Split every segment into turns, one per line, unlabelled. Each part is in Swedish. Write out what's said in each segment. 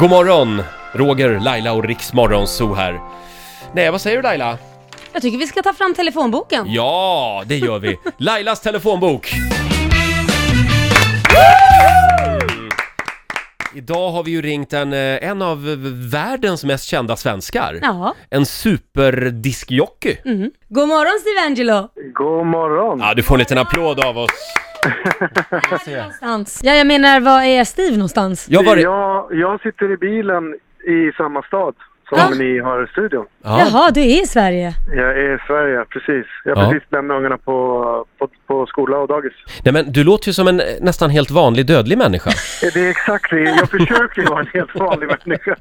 God morgon! Roger, Laila och Riksmorgon Zoo här. Nej, vad säger du Laila?
Jag tycker vi ska ta fram telefonboken.
Ja, det gör vi. Lailas telefonbok. Mm. Idag har vi ju ringt en, eh, en av världens mest kända svenskar.
Jaha.
En superdiskjockey.
Mm. God morgon Steve-Angelo!
God morgon!
Ja, du får en liten applåd av oss.
Någonstans. Ja, jag menar, var är Steve någonstans?
Jag var...
jag, jag sitter i bilen i samma stad som
Ja.
ni har studion.
Ja.
Jaha, du är i Sverige.
Jag är i Sverige, precis. Jag har
Ja.
precis lämnat ungarna på, på, på skola och dagis.
Nej men du låter ju som en eh, nästan helt vanlig dödlig människa.
Det är exakt det. Jag försöker ju vara en helt vanlig människa.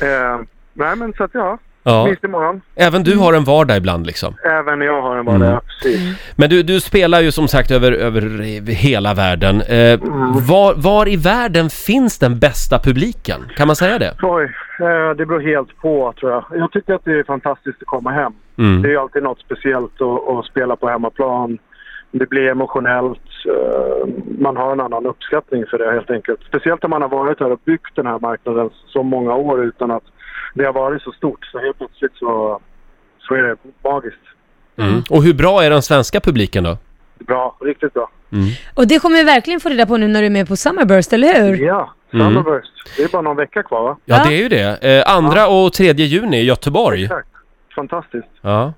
Eh, nej, men så att ja.
Ja.
Minst imorgon.
Även du har en vardag ibland liksom.
Även jag har en vardag,
Mm.
ja, precis.
Men du, du spelar ju som sagt över, över hela världen. Eh, var, var i världen finns den bästa publiken? Kan man säga det?
Oj, eh, det beror helt på tror jag. Jag tycker att det är fantastiskt att komma hem. Det är
Mm.
ju alltid något speciellt att, att spela på hemmaplan. Det blir emotionellt. eh, Man har en annan uppskattning för det helt enkelt. Speciellt om man har varit här och byggt den här marknaden så många år utan att det har varit så stort. Så helt plötsligt så, så är det magiskt.
Mm. Och hur bra är den svenska publiken då?
Bra, riktigt bra.
Och det kommer vi verkligen få reda på nu när du är med på Summerburst, eller hur?
Ja,
Mm.
Summerburst. Det är bara någon vecka kvar va?
Ja, det är ju det. Eh, andra och tredje juni i Göteborg.
Exakt. Fantastiskt.
Ja.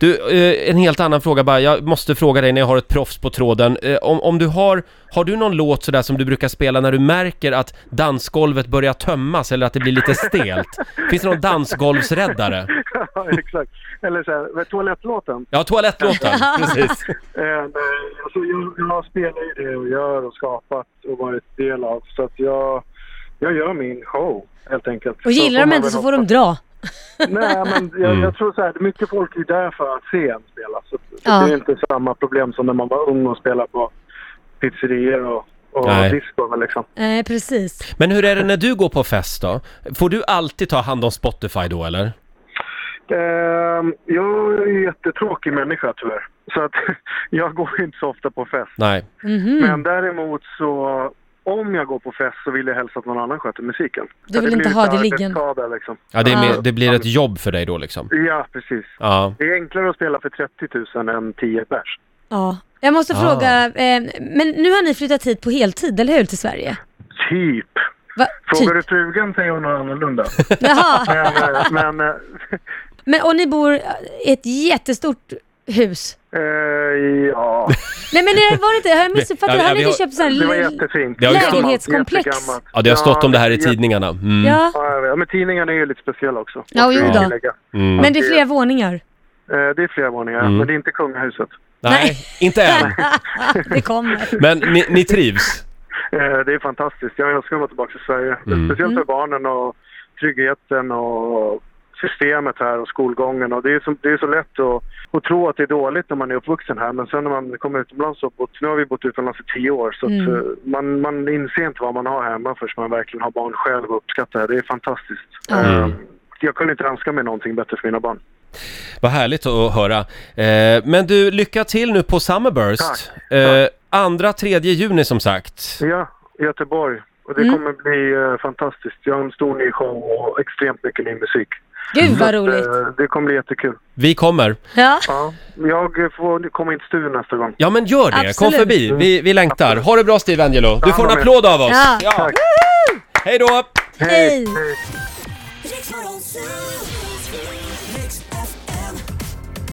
Du, eh, en helt annan fråga bara. Jag måste fråga dig när jag har ett proffs på tråden. Eh, om, om du har, har du någon låt sådär som du brukar spela när du märker att dansgolvet börjar tömmas eller att det blir lite stelt? Finns det någon dansgolvsräddare?
Ja, Exakt. Eller så här, toalettlåten.
Ja, toalettlåten. Precis.
Eh, nej, alltså, jag, jag spelar ju det och gör och skapat och varit del av. Så att jag, jag gör min show helt enkelt.
Och
Så får
gillar de
man
inte
väl
så får de
hoppas.
dra.
Nej, men jag, jag tror så här, mycket folk är ju där för att se en spela. Så
Ja.
Det är inte samma problem som när man var ung och spelade på pizzerior och, och
Nej.
disco. Liksom.
Nej, Eh, precis.
Men hur är det när du går på fest då? Får du alltid ta hand om Spotify då eller?
Eh, jag är en jättetråkig människa tyvärr. Så att, jag går inte så ofta på fest.
Nej.
Mm.
Men däremot så, om jag går på fest så vill jag helst att någon annan sköter musiken.
Du vill
Det blir
inte ha
lite
det liggande.
arbetsskada, Liksom.
Ja, det, är mer,
Ah.
det blir ett jobb för dig då liksom.
Ja, precis.
Ja.
Det är enklare att spela för 30 000 än 10 pers.
Ja. Jag måste
Ah.
fråga, eh, men nu har ni flyttat hit på heltid, eller hur? Till Sverige?
Typ.
Va? Typ.
Frågar du frugan säger hon något annorlunda.
Jaha.
men, eh, men eh,
Men, och ni bor i ett jättestort hus?
eh, ja,
Nej men det var det inte, har jag missuppfattat?
Ja, ja,
Har ni
vi
inte
har-
köpt sån här...
det var
li-
jättefint.
Det har ju stått-
Lägenhetskomplex.
Jättegammalt.
ja, det har stått om det här i
jätte-
tidningarna. Mm.
Ja.
Ja, jag vet. men tidningarna är ju lite speciella också.
Ja,
måste
jo
jag
då.
tillägga.
Mm.
Men det är flera våningar.
Eh, Det är flera våningar, men det är inte kungahuset.
Nej, inte än.
det kommer.
Men ni, ni trivs?
Eh, Det är fantastiskt. Jag önskar att vara tillbaka till Sverige. Speciellt
Mm.
för barnen och tryggheten och systemet här och skolgången. Och det, är så, det är så lätt att, att tro att det är dåligt när man är uppvuxen här men sen när man kommer utomlands och bott, nu har vi bott utomlands i tio år så att,
Mm.
eh, man, man inser inte vad man har hemma förrän man verkligen har barn själv och uppskattar det. Det är fantastiskt.
Mm.
Eh, Jag kunde inte önska mig någonting bättre för mina barn.
Vad härligt att höra. Eh, men du, lycka till nu på Summerburst.
Tack.
Eh, andra, tredje juni som sagt.
Ja, Göteborg. Och det
Mm.
kommer bli eh, fantastiskt. Jag har en stor ny show och extremt mycket ny musik.
Gud vad
Så att,
roligt.
eh, Det kommer bli jättekul.
Vi kommer.
Ja.
Ja, jag får komma in till studion nästa gång.
Ja men gör det, kom
Absolut.
förbi. Vi, vi längtar. Ha det bra Steve Angelo. Du får en applåd av oss.
Ja.
Tack.
Hej då!
Hej.
Riksmorgon, Zoo.